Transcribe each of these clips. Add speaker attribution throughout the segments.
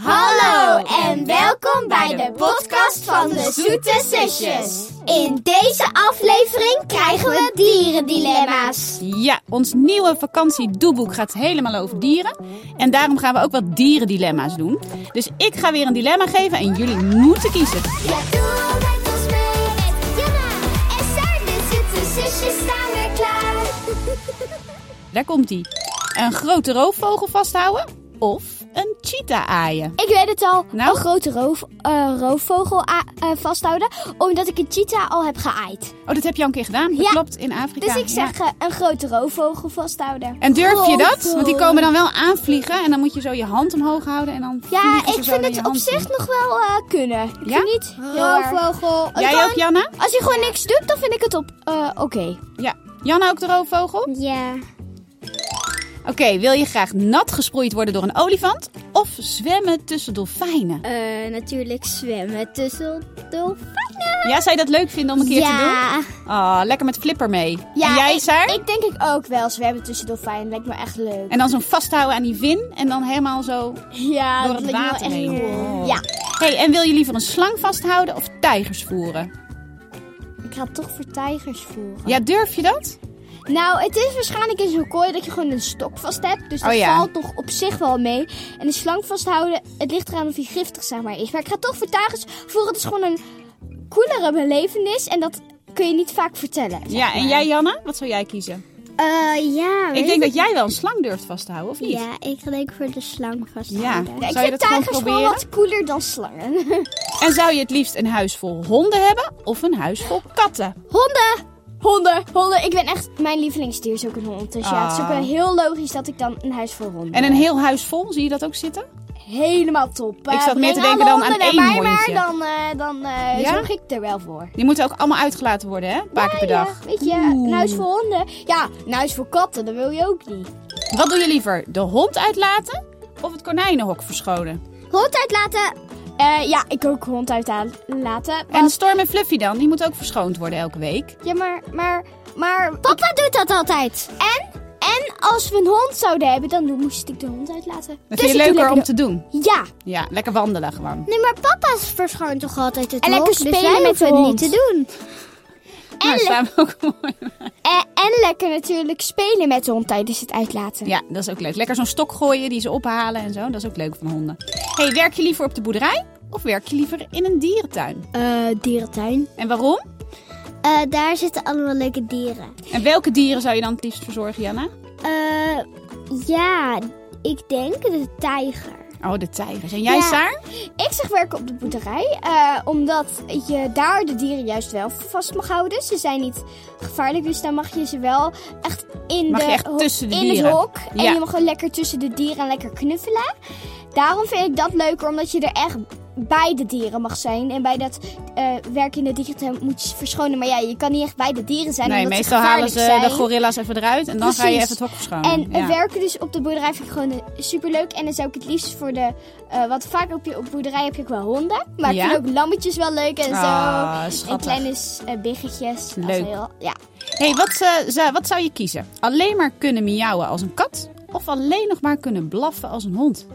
Speaker 1: Hallo en welkom bij de podcast van de Zoete Zusjes. In deze aflevering krijgen we dierendilemma's.
Speaker 2: Ja, ons nieuwe vakantiedoelboek gaat helemaal over dieren. En daarom gaan we ook wat dierendilemma's doen. Dus ik ga weer een dilemma geven en jullie moeten kiezen.
Speaker 1: Ja, doe met ons mee met Jana en Saar, de Zoete Zusjes staan weer klaar.
Speaker 2: Daar komt ie. Een grote roofvogel vasthouden of een cheetah aaien.
Speaker 1: Ik weet het al,
Speaker 2: Nou?
Speaker 1: een grote roof, eh, roofvogel a- eh, vasthouden, omdat ik een cheetah al heb geaaid.
Speaker 2: Oh, dat heb je al een keer gedaan. Dat
Speaker 1: Ja.
Speaker 2: klopt, in Afrika.
Speaker 1: Dus ik
Speaker 2: Ja.
Speaker 1: zeg eh, een grote roofvogel vasthouden.
Speaker 2: En durf je dat?
Speaker 1: Roofvogel.
Speaker 2: Want die komen dan wel aanvliegen en dan moet je zo je hand omhoog houden en dan
Speaker 1: Ja,
Speaker 2: vliegen ze zo
Speaker 1: ik vind
Speaker 2: naar
Speaker 1: het
Speaker 2: je
Speaker 1: op
Speaker 2: hand toe.
Speaker 1: zich nog wel eh, kunnen. Ik
Speaker 2: Ja?
Speaker 1: vind niet roofvogel.
Speaker 2: Jij ook, Janna?
Speaker 1: Als je gewoon niks doet, dan vind ik het op. eh, Oké.
Speaker 2: Ja. Janna ook de roofvogel?
Speaker 1: Ja.
Speaker 2: Oké, wil je graag nat gesproeid worden door een olifant of zwemmen tussen dolfijnen?
Speaker 1: Eh, natuurlijk zwemmen tussen dolfijnen.
Speaker 2: Ja, zou je dat leuk vinden om een keer te doen?
Speaker 1: Ja.
Speaker 2: Ah, lekker met flipper mee.
Speaker 1: ja.
Speaker 2: en jij,
Speaker 1: ik,
Speaker 2: Saar?
Speaker 1: Ik denk ik ook wel zwemmen tussen dolfijnen. Lijkt me echt leuk.
Speaker 2: En dan zo'n vasthouden aan die vin en dan helemaal zo
Speaker 1: Ja,
Speaker 2: door het water heen. Oh.
Speaker 1: Ja.
Speaker 2: hey, en wil je liever een slang vasthouden of tijgers voeren?
Speaker 1: Ik ga toch voor tijgers voeren.
Speaker 2: Ja, durf je dat?
Speaker 1: Nou, het is waarschijnlijk in zo'n kooi dat je gewoon een stok vast hebt. Dus dat
Speaker 2: Oh ja.
Speaker 1: valt nog op zich wel mee. En de slang vasthouden, het ligt eraan of hij giftig zeg maar is. Maar ik ga toch voor tijgers voeren. Het is gewoon een coolere belevenis. En dat kun je niet vaak vertellen.
Speaker 2: Ja, en jij, Janne? Wat zou jij kiezen?
Speaker 3: Eh ja,
Speaker 2: Ik denk dat jij wel een slang durft vasthouden, of niet?
Speaker 3: ja, ik denk voor de slang
Speaker 2: Ja.
Speaker 3: vasthouden.
Speaker 1: Ja, ik
Speaker 2: Zou je
Speaker 1: vind
Speaker 2: dat gewoon
Speaker 1: tijgers gewoon
Speaker 2: proberen?
Speaker 1: wat cooler dan slangen.
Speaker 2: En zou je het liefst een huis vol honden hebben of een huis vol katten?
Speaker 1: Honden! Honden, honden. Ik ben echt... Mijn lievelingsdier is ook een hond. Dus ja, het is ook
Speaker 2: Ah.
Speaker 1: wel heel logisch dat ik dan een huis voor honden
Speaker 2: En
Speaker 1: heb.
Speaker 2: een heel huis vol, zie je dat ook zitten?
Speaker 1: Helemaal top. Eh,
Speaker 2: zat meer te
Speaker 1: breng
Speaker 2: denken
Speaker 1: alle
Speaker 2: dan aan
Speaker 1: honden
Speaker 2: één
Speaker 1: naar mij,
Speaker 2: hondje.
Speaker 1: Maar dan, eh, dan eh,
Speaker 2: Ja?
Speaker 1: zorg ik er wel voor.
Speaker 2: Die moeten ook allemaal uitgelaten worden, hè? Een paar keer per dag.
Speaker 1: Ja, weet je, een huis voor honden. Ja, een huis voor katten, dat wil je ook niet.
Speaker 2: Wat doe je liever, de hond uitlaten of het konijnenhok verschonen?
Speaker 1: Hond uitlaten. Eh ja, ik ook hond uitlaten.
Speaker 2: En Storm en Fluffy dan, die moet ook verschoond worden elke week.
Speaker 1: Ja, maar, maar, maar... Papa doet dat altijd. En, en als we een hond zouden hebben, dan doe- moest ik de hond uitlaten.
Speaker 2: Dat vind
Speaker 1: Dus
Speaker 2: je
Speaker 1: ik doe
Speaker 2: leuker om
Speaker 1: lekker
Speaker 2: te doen.
Speaker 1: de- Ja,
Speaker 2: Ja, lekker wandelen gewoon.
Speaker 3: Nee, maar papa verschoont toch altijd het
Speaker 1: En
Speaker 3: hok,
Speaker 1: lekker
Speaker 3: dus
Speaker 1: spelen
Speaker 3: wij
Speaker 1: met
Speaker 3: hoeven
Speaker 1: de
Speaker 3: het
Speaker 1: hond.
Speaker 3: niet te doen.
Speaker 2: Nou, staan we ook mooi.
Speaker 1: en, eh, en lekker natuurlijk spelen met de hond tijdens het uitlaten.
Speaker 2: Ja, dat is ook leuk. Lekker zo'n stok gooien die ze ophalen en zo. Dat is ook leuk van honden. hey, werk je liever op de boerderij of werk je liever in een dierentuin?
Speaker 3: Eh dierentuin.
Speaker 2: En waarom?
Speaker 3: Eh, daar zitten allemaal leuke dieren.
Speaker 2: En welke dieren zou je dan het liefst verzorgen, Janna?
Speaker 3: Eh ja, ik denk de tijger.
Speaker 2: Oh, de tijgers. En jij,
Speaker 3: Ja.
Speaker 2: Saar?
Speaker 1: Ik zeg werken op de boerderij, eh, omdat je daar de dieren juist wel vast mag houden. Ze zijn niet gevaarlijk, dus dan mag je ze wel echt in,
Speaker 2: Mag
Speaker 1: de,
Speaker 2: je echt
Speaker 1: ho-
Speaker 2: tussen de
Speaker 1: in het
Speaker 2: dieren.
Speaker 1: hok.
Speaker 2: Ja.
Speaker 1: En je mag gewoon lekker tussen de dieren en lekker knuffelen. Daarom vind ik dat leuker, omdat je er echt bij de dieren mag zijn. En bij dat eh werk in de dierentuin moet je verschonen. Maar ja, je kan niet echt bij de dieren zijn,
Speaker 2: Nee,
Speaker 1: omdat
Speaker 2: meestal
Speaker 1: ze
Speaker 2: halen
Speaker 1: gevaarlijk
Speaker 2: ze
Speaker 1: zijn.
Speaker 2: de gorilla's even eruit en dan ga je even
Speaker 1: Precies.
Speaker 2: het hok verschonen.
Speaker 1: En
Speaker 2: Ja.
Speaker 1: eh, werken dus op de boerderij vind ik gewoon eh, superleuk. En dan zou ik het liefst voor de... eh wat vaak op je op boerderij heb je ook wel honden. Maar
Speaker 2: Ja?
Speaker 1: ik vind ook lammetjes wel leuk en
Speaker 2: Ah,
Speaker 1: zo. En
Speaker 2: schattig.
Speaker 1: kleine s- eh, biggetjes. Dat is
Speaker 2: Leuk.
Speaker 1: heel- ja.
Speaker 2: hey, wat, eh, zou- wat zou je kiezen? Alleen maar kunnen miauwen als een kat of alleen nog maar kunnen blaffen als een hond?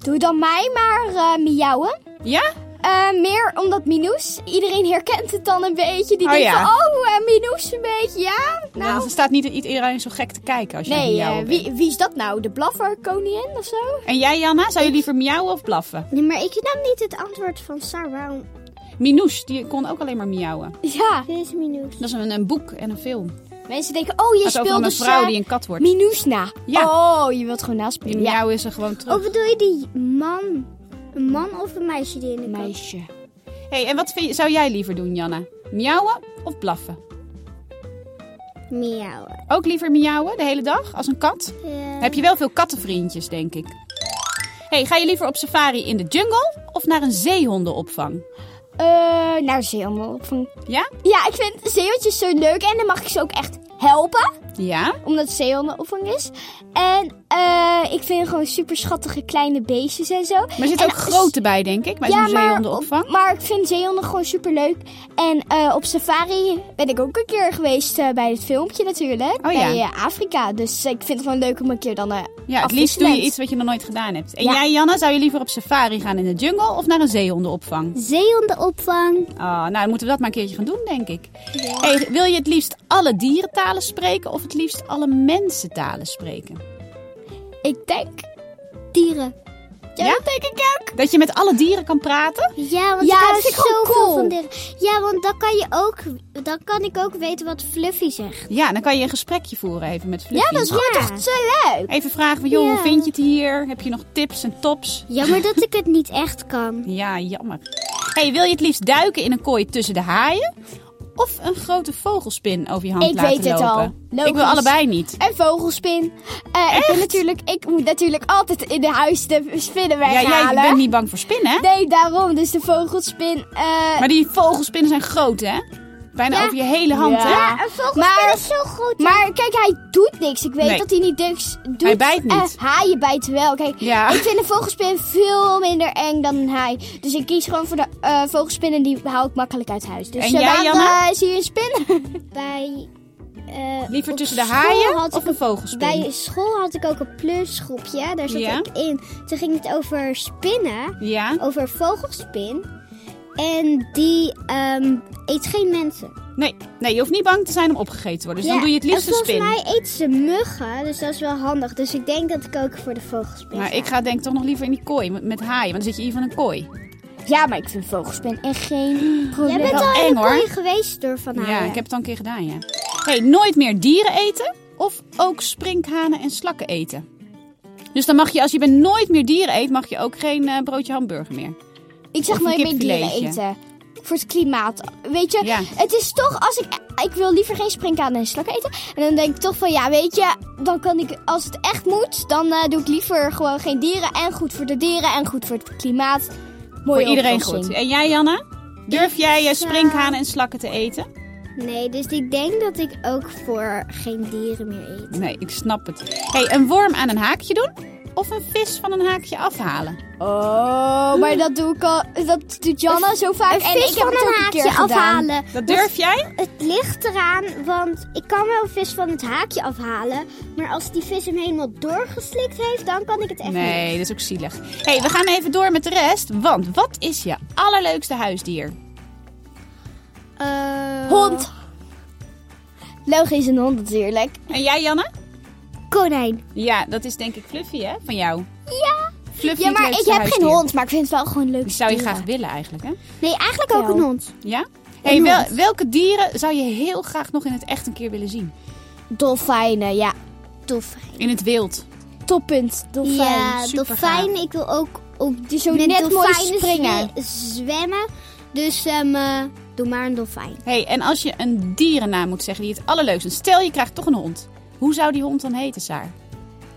Speaker 1: Doe dan mij maar eh, miauwen.
Speaker 2: Ja?
Speaker 1: Eh, meer omdat Minoes, iedereen herkent het dan een beetje. Die
Speaker 2: Oh
Speaker 1: denkt
Speaker 2: ja.
Speaker 1: van, oh, eh, Minoes een beetje, ja.
Speaker 2: Nou,
Speaker 1: Nou,
Speaker 2: dan staat niet iedereen zo gek te kijken als je
Speaker 1: nee, eh,
Speaker 2: miauwen bent.
Speaker 1: wie, wie is dat nou? De blafferkoningin of zo?
Speaker 2: En jij, Janna, zou je liever miauwen of blaffen?
Speaker 3: Nee, maar ik nam niet het antwoord van Sar. Waarom?
Speaker 2: Minouche, die kon ook alleen maar miauwen.
Speaker 1: Ja,
Speaker 3: Deze minuut.
Speaker 2: Dat is een, een boek en een film.
Speaker 1: mensen denken, oh, je
Speaker 2: Het gaat over
Speaker 1: speelt
Speaker 2: een
Speaker 1: dus
Speaker 2: vrouw
Speaker 1: eh,
Speaker 2: die een kat wordt.
Speaker 1: Minoes na.
Speaker 2: Ja.
Speaker 1: Oh, je wilt gewoon
Speaker 2: Die
Speaker 1: naspelen.
Speaker 2: miauwen is er gewoon terug.
Speaker 3: Of bedoel je die man? Een man of een meisje die in de kat-
Speaker 1: meisje.
Speaker 2: hey, en wat vind je- zou jij liever doen, Janna? Miauwen of blaffen?
Speaker 3: Miauwen.
Speaker 2: Ook liever miauwen de hele dag als een kat?
Speaker 3: Eh,
Speaker 2: Heb je wel veel kattenvriendjes, denk ik. hey, ga je liever op safari in de jungle of naar een zeehondenopvang?
Speaker 1: Eh, naar zeehondenopvang.
Speaker 2: Ja?
Speaker 1: Ja, ik vind zeehondjes zo leuk en dan mag ik ze ook echt helpen,
Speaker 2: Ja?
Speaker 1: omdat het zeehondenopvang is. En Eh, ik vind gewoon super schattige kleine beestjes en zo.
Speaker 2: Maar er zitten
Speaker 1: En
Speaker 2: ook grote bij, denk ik, bij
Speaker 1: Ja,
Speaker 2: zo'n
Speaker 1: maar-
Speaker 2: zeehondenopvang.
Speaker 1: Maar ik vind zeehonden gewoon super leuk. En eh, op safari ben ik ook een keer geweest eh, bij het filmpje natuurlijk.
Speaker 2: Oh ja.
Speaker 1: Bij eh, Afrika. Dus ik vind het gewoon leuk om een keer dan... eh,
Speaker 2: Ja, het liefst doe je
Speaker 1: afwisselend.
Speaker 2: iets wat je nog nooit gedaan hebt. En
Speaker 1: Ja.
Speaker 2: jij, Janna, zou je liever op safari gaan in de jungle of naar een zeehondenopvang?
Speaker 3: Zeehondenopvang.
Speaker 2: Ah, nou, dan moeten we dat maar een keertje gaan doen, denk ik. Hey, wil je het liefst alle dierentalen spreken of het liefst alle mensentalen spreken?
Speaker 1: Ik denk...
Speaker 3: Dieren.
Speaker 1: Ja,
Speaker 2: Ja?
Speaker 1: dat denk ik ook.
Speaker 2: Dat je met alle dieren kan praten?
Speaker 3: Ja, want
Speaker 1: Ja,
Speaker 3: ik hou
Speaker 1: dat vind ik
Speaker 3: zoveel
Speaker 1: gewoon cool.
Speaker 3: van dieren. Ja, want dan kan, je ook, dan kan ik ook weten wat Fluffy zegt.
Speaker 2: Ja, dan kan je een gesprekje voeren even met Fluffy.
Speaker 1: Ja, dat is gewoon
Speaker 3: Ja.
Speaker 1: echt zo leuk.
Speaker 2: Even vragen van, joh,
Speaker 3: Ja.
Speaker 2: hoe vind je het hier? Heb je nog tips en tops?
Speaker 3: Jammer dat ik het niet echt kan.
Speaker 2: Ja, jammer. Hey, wil je het liefst duiken in een kooi tussen de haaien? Of een grote vogelspin over je hand
Speaker 1: Ik
Speaker 2: laten
Speaker 1: weet het al.
Speaker 2: lopen? Ik wil
Speaker 1: Logisch.
Speaker 2: allebei niet.
Speaker 1: En vogelspin. Eh, ik, ben natuurlijk, ik moet natuurlijk altijd in de huis de
Speaker 2: Ja,
Speaker 1: spinnen weghalen.
Speaker 2: jij bent niet bang voor spinnen, hè?
Speaker 1: Nee, daarom. Dus de vogelspin. eh,
Speaker 2: Maar die vogelspinnen zijn groot, hè? Bijna over je hele hand,
Speaker 1: Ja.
Speaker 2: hè?
Speaker 1: Ja,
Speaker 3: een vogelspin
Speaker 1: Maar-
Speaker 3: is zo goed.
Speaker 1: Maar kijk, hij doet niks. Ik weet
Speaker 2: Nee.
Speaker 1: dat hij niet niks doet.
Speaker 2: Hij bijt niet.
Speaker 1: Eh, haaien bijten wel. Kijk,
Speaker 2: Ja.
Speaker 1: ik vind een vogelspin veel minder eng dan een haai. Dus ik kies gewoon voor de eh, vogelspinnen. Die haal ik makkelijk uit huis. Dus
Speaker 2: En
Speaker 1: eh,
Speaker 2: jij,
Speaker 1: waarom
Speaker 2: Janne?
Speaker 1: eh, zie je een spin?
Speaker 3: Bij, eh,
Speaker 2: Liever
Speaker 3: op
Speaker 2: tussen de
Speaker 3: school
Speaker 2: haaien
Speaker 3: had
Speaker 2: of
Speaker 3: ik
Speaker 2: een vogelspin?
Speaker 3: Bij school had ik ook een plusgroepje. Daar zat
Speaker 2: Ja.
Speaker 3: ik in. Toen ging het over spinnen.
Speaker 2: Ja?
Speaker 3: Over vogelspin. En die ehm, eet geen mensen.
Speaker 2: Nee. nee, je hoeft niet bang te zijn om opgegeten te worden. Dus dan doe je het liefst
Speaker 3: en
Speaker 2: een spin.
Speaker 3: Volgens mij eet ze muggen. Dus dat is wel handig. Dus ik denk dat ik ook voor de vogelspin
Speaker 2: Maar
Speaker 3: ga.
Speaker 2: ik ga denk ik toch nog liever in die kooi met- met haaien. Want dan zit je hier van een kooi.
Speaker 1: Ja, maar ik vind vogelspin echt geen probleem.
Speaker 3: Jij bent
Speaker 2: wel
Speaker 3: al in
Speaker 2: eng,
Speaker 3: een
Speaker 2: hoor.
Speaker 3: kooi geweest door Van
Speaker 2: Ja,
Speaker 3: Haaien.
Speaker 2: ik heb het al een keer gedaan, ja. hey, nooit meer dieren eten of ook sprinkhanen en slakken eten. Dus dan mag je, als je bent nooit meer dieren eet, mag je ook geen eh, broodje hamburger meer.
Speaker 1: Ik zeg
Speaker 2: Of een
Speaker 1: nooit meer dieren
Speaker 2: kipfiletje.
Speaker 1: eten. Voor het klimaat. Weet je,
Speaker 2: Ja.
Speaker 1: het is toch als ik. Ik wil liever geen sprinkhanen en slakken eten. En dan denk ik toch van ja, weet je, dan kan ik, als het echt moet, dan eh, doe ik liever gewoon geen dieren. En goed voor de dieren en goed voor het klimaat. Mooie
Speaker 2: Voor iedereen
Speaker 1: oplossing.
Speaker 2: goed. En jij, Janna? Durf jij eh, sprinkhanen en slakken te eten?
Speaker 3: Nee, dus ik denk dat ik ook voor geen dieren meer eet.
Speaker 2: Nee, ik snap het. hey, een worm aan een haakje doen of een vis van een haakje afhalen?
Speaker 1: Oh, maar dat doe ik al. Dat doet Janna zo vaak.
Speaker 3: Een
Speaker 1: en ik
Speaker 3: vis
Speaker 1: heb
Speaker 3: van
Speaker 1: het ook
Speaker 3: een
Speaker 1: een keer
Speaker 3: haakje
Speaker 1: gedaan.
Speaker 3: afhalen.
Speaker 2: Dat durf jij?
Speaker 3: Het ligt eraan, want ik kan wel een vis van het haakje afhalen. Maar als die vis hem helemaal doorgeslikt heeft, dan kan ik het echt
Speaker 2: Nee, dat is ook zielig. hey, we gaan even door met de rest. Want wat is je allerleukste huisdier?
Speaker 3: niet. Eh,
Speaker 1: Hond. Logisch is een hond natuurlijk.
Speaker 2: En jij, Janne?
Speaker 3: Konijn.
Speaker 2: Ja, dat is denk ik Fluffy, hè? Van jou.
Speaker 1: Ja.
Speaker 2: Fluffy
Speaker 1: Ja,
Speaker 2: het
Speaker 1: maar ik
Speaker 2: leukste
Speaker 1: heb
Speaker 2: huisdier.
Speaker 1: geen hond, maar ik vind het wel gewoon leuk.
Speaker 2: Die zou je graag willen eigenlijk, hè?
Speaker 3: Nee, eigenlijk ook
Speaker 1: Ja.
Speaker 3: een hond.
Speaker 2: Ja? hey, wel-
Speaker 3: hond.
Speaker 2: welke dieren zou je heel graag nog in het echt een keer willen zien?
Speaker 1: Dolfijnen, ja.
Speaker 3: Dolfijn.
Speaker 2: In het wild.
Speaker 1: Toppunt, dolfijn.
Speaker 3: ja,
Speaker 2: super
Speaker 3: dolfijn. Ik wil ook op
Speaker 1: Die zo net mooi springen.
Speaker 3: zwe- zwemmen. Dus ehm, eh, doe maar een dolfijn.
Speaker 2: hey, en als je een dierennaam moet zeggen die het allerleukste is. Stel, je krijgt toch een hond. Hoe zou die hond dan heten, Saar?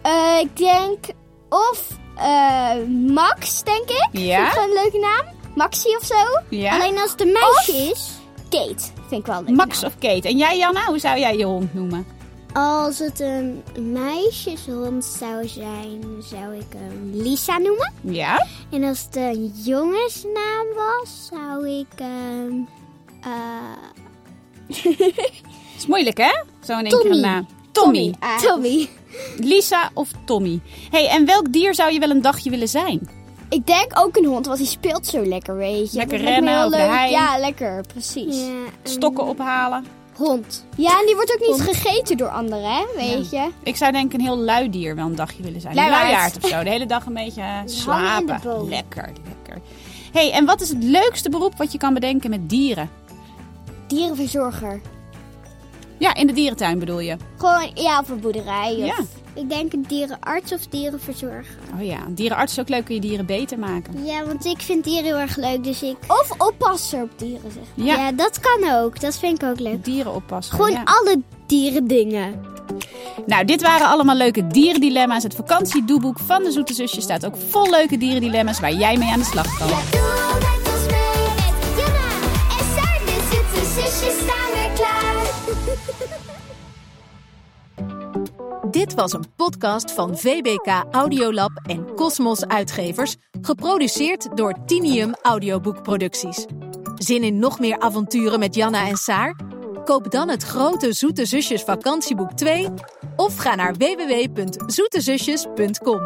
Speaker 1: Eh, ik denk of eh, Max, denk ik.
Speaker 2: Ja?
Speaker 1: Vind ik een leuke naam. Maxi of zo.
Speaker 2: Ja?
Speaker 3: Alleen als het een meisje is.
Speaker 1: Kate, vind ik wel een leuke
Speaker 2: Max
Speaker 1: naam.
Speaker 2: of Kate. En jij, Janna, hoe zou jij je hond noemen?
Speaker 3: Als het een meisjeshond zou zijn, zou ik hem Lisa noemen.
Speaker 2: Ja?
Speaker 3: En als het een jongensnaam was, zou ik ehm eh,
Speaker 2: Is moeilijk, hè? Zo in één keer een
Speaker 3: Tommy.
Speaker 2: naam. Tommy.
Speaker 1: Ah.
Speaker 3: Tommy.
Speaker 2: Lisa of Tommy. hey, en welk dier zou je wel een dagje willen zijn?
Speaker 1: Ik denk ook een hond, want die speelt zo lekker, weet je.
Speaker 2: Lekker
Speaker 1: Dat lijkt me
Speaker 2: rennen
Speaker 1: heel
Speaker 2: over de
Speaker 1: leuk.
Speaker 2: hei.
Speaker 1: Ja, lekker, precies. Ja.
Speaker 3: Ja, een
Speaker 2: Stokken ophalen?
Speaker 3: hond.
Speaker 1: en die wordt ook niet gegeten door anderen, hè, weet je.
Speaker 2: Ik zou denk ik een heel lui dier wel een dagje willen zijn.
Speaker 1: Luiaard.
Speaker 2: Een luiaard of zo. De hele dag een beetje eh,
Speaker 3: in de
Speaker 2: slapen.
Speaker 3: boom.
Speaker 2: Lekker, lekker. hey, en wat is het leukste beroep wat je kan bedenken met dieren?
Speaker 1: Dierenverzorger.
Speaker 2: Ja, in de dierentuin bedoel je.
Speaker 1: Gewoon, ja, op een boerderij. Of...
Speaker 2: Ja.
Speaker 3: Ik denk een dierenarts of dierenverzorger.
Speaker 2: Oh ja, een dierenarts is ook leuk. Kun je dieren beter maken.
Speaker 3: Ja, want ik vind dieren heel erg leuk, dus ik...
Speaker 1: Of oppasser op dieren, zeg maar.
Speaker 2: Ja,
Speaker 3: dat kan ook. Dat vind ik ook leuk.
Speaker 2: dieren oppassen.
Speaker 3: Gewoon
Speaker 2: ja.
Speaker 3: alle dierendingen.
Speaker 2: Nou, dit waren allemaal leuke dierendilemma's. Het vakantiedoeboek van de Zoete Zusje staat ook vol leuke dierendilemma's waar jij mee aan de slag kan.
Speaker 4: Doe met ons mee met Jana en dus Saar, de zoete zusjes staan weer klaar.
Speaker 5: Dit was een podcast van VBK Audiolab en Cosmos Uitgevers, geproduceerd door Tinium Audioboek Producties. Zin in nog meer avonturen met Janna en Saar? Koop dan het grote Zoete Zusjes vakantieboek 2 of ga naar www.zoetezusjes.com.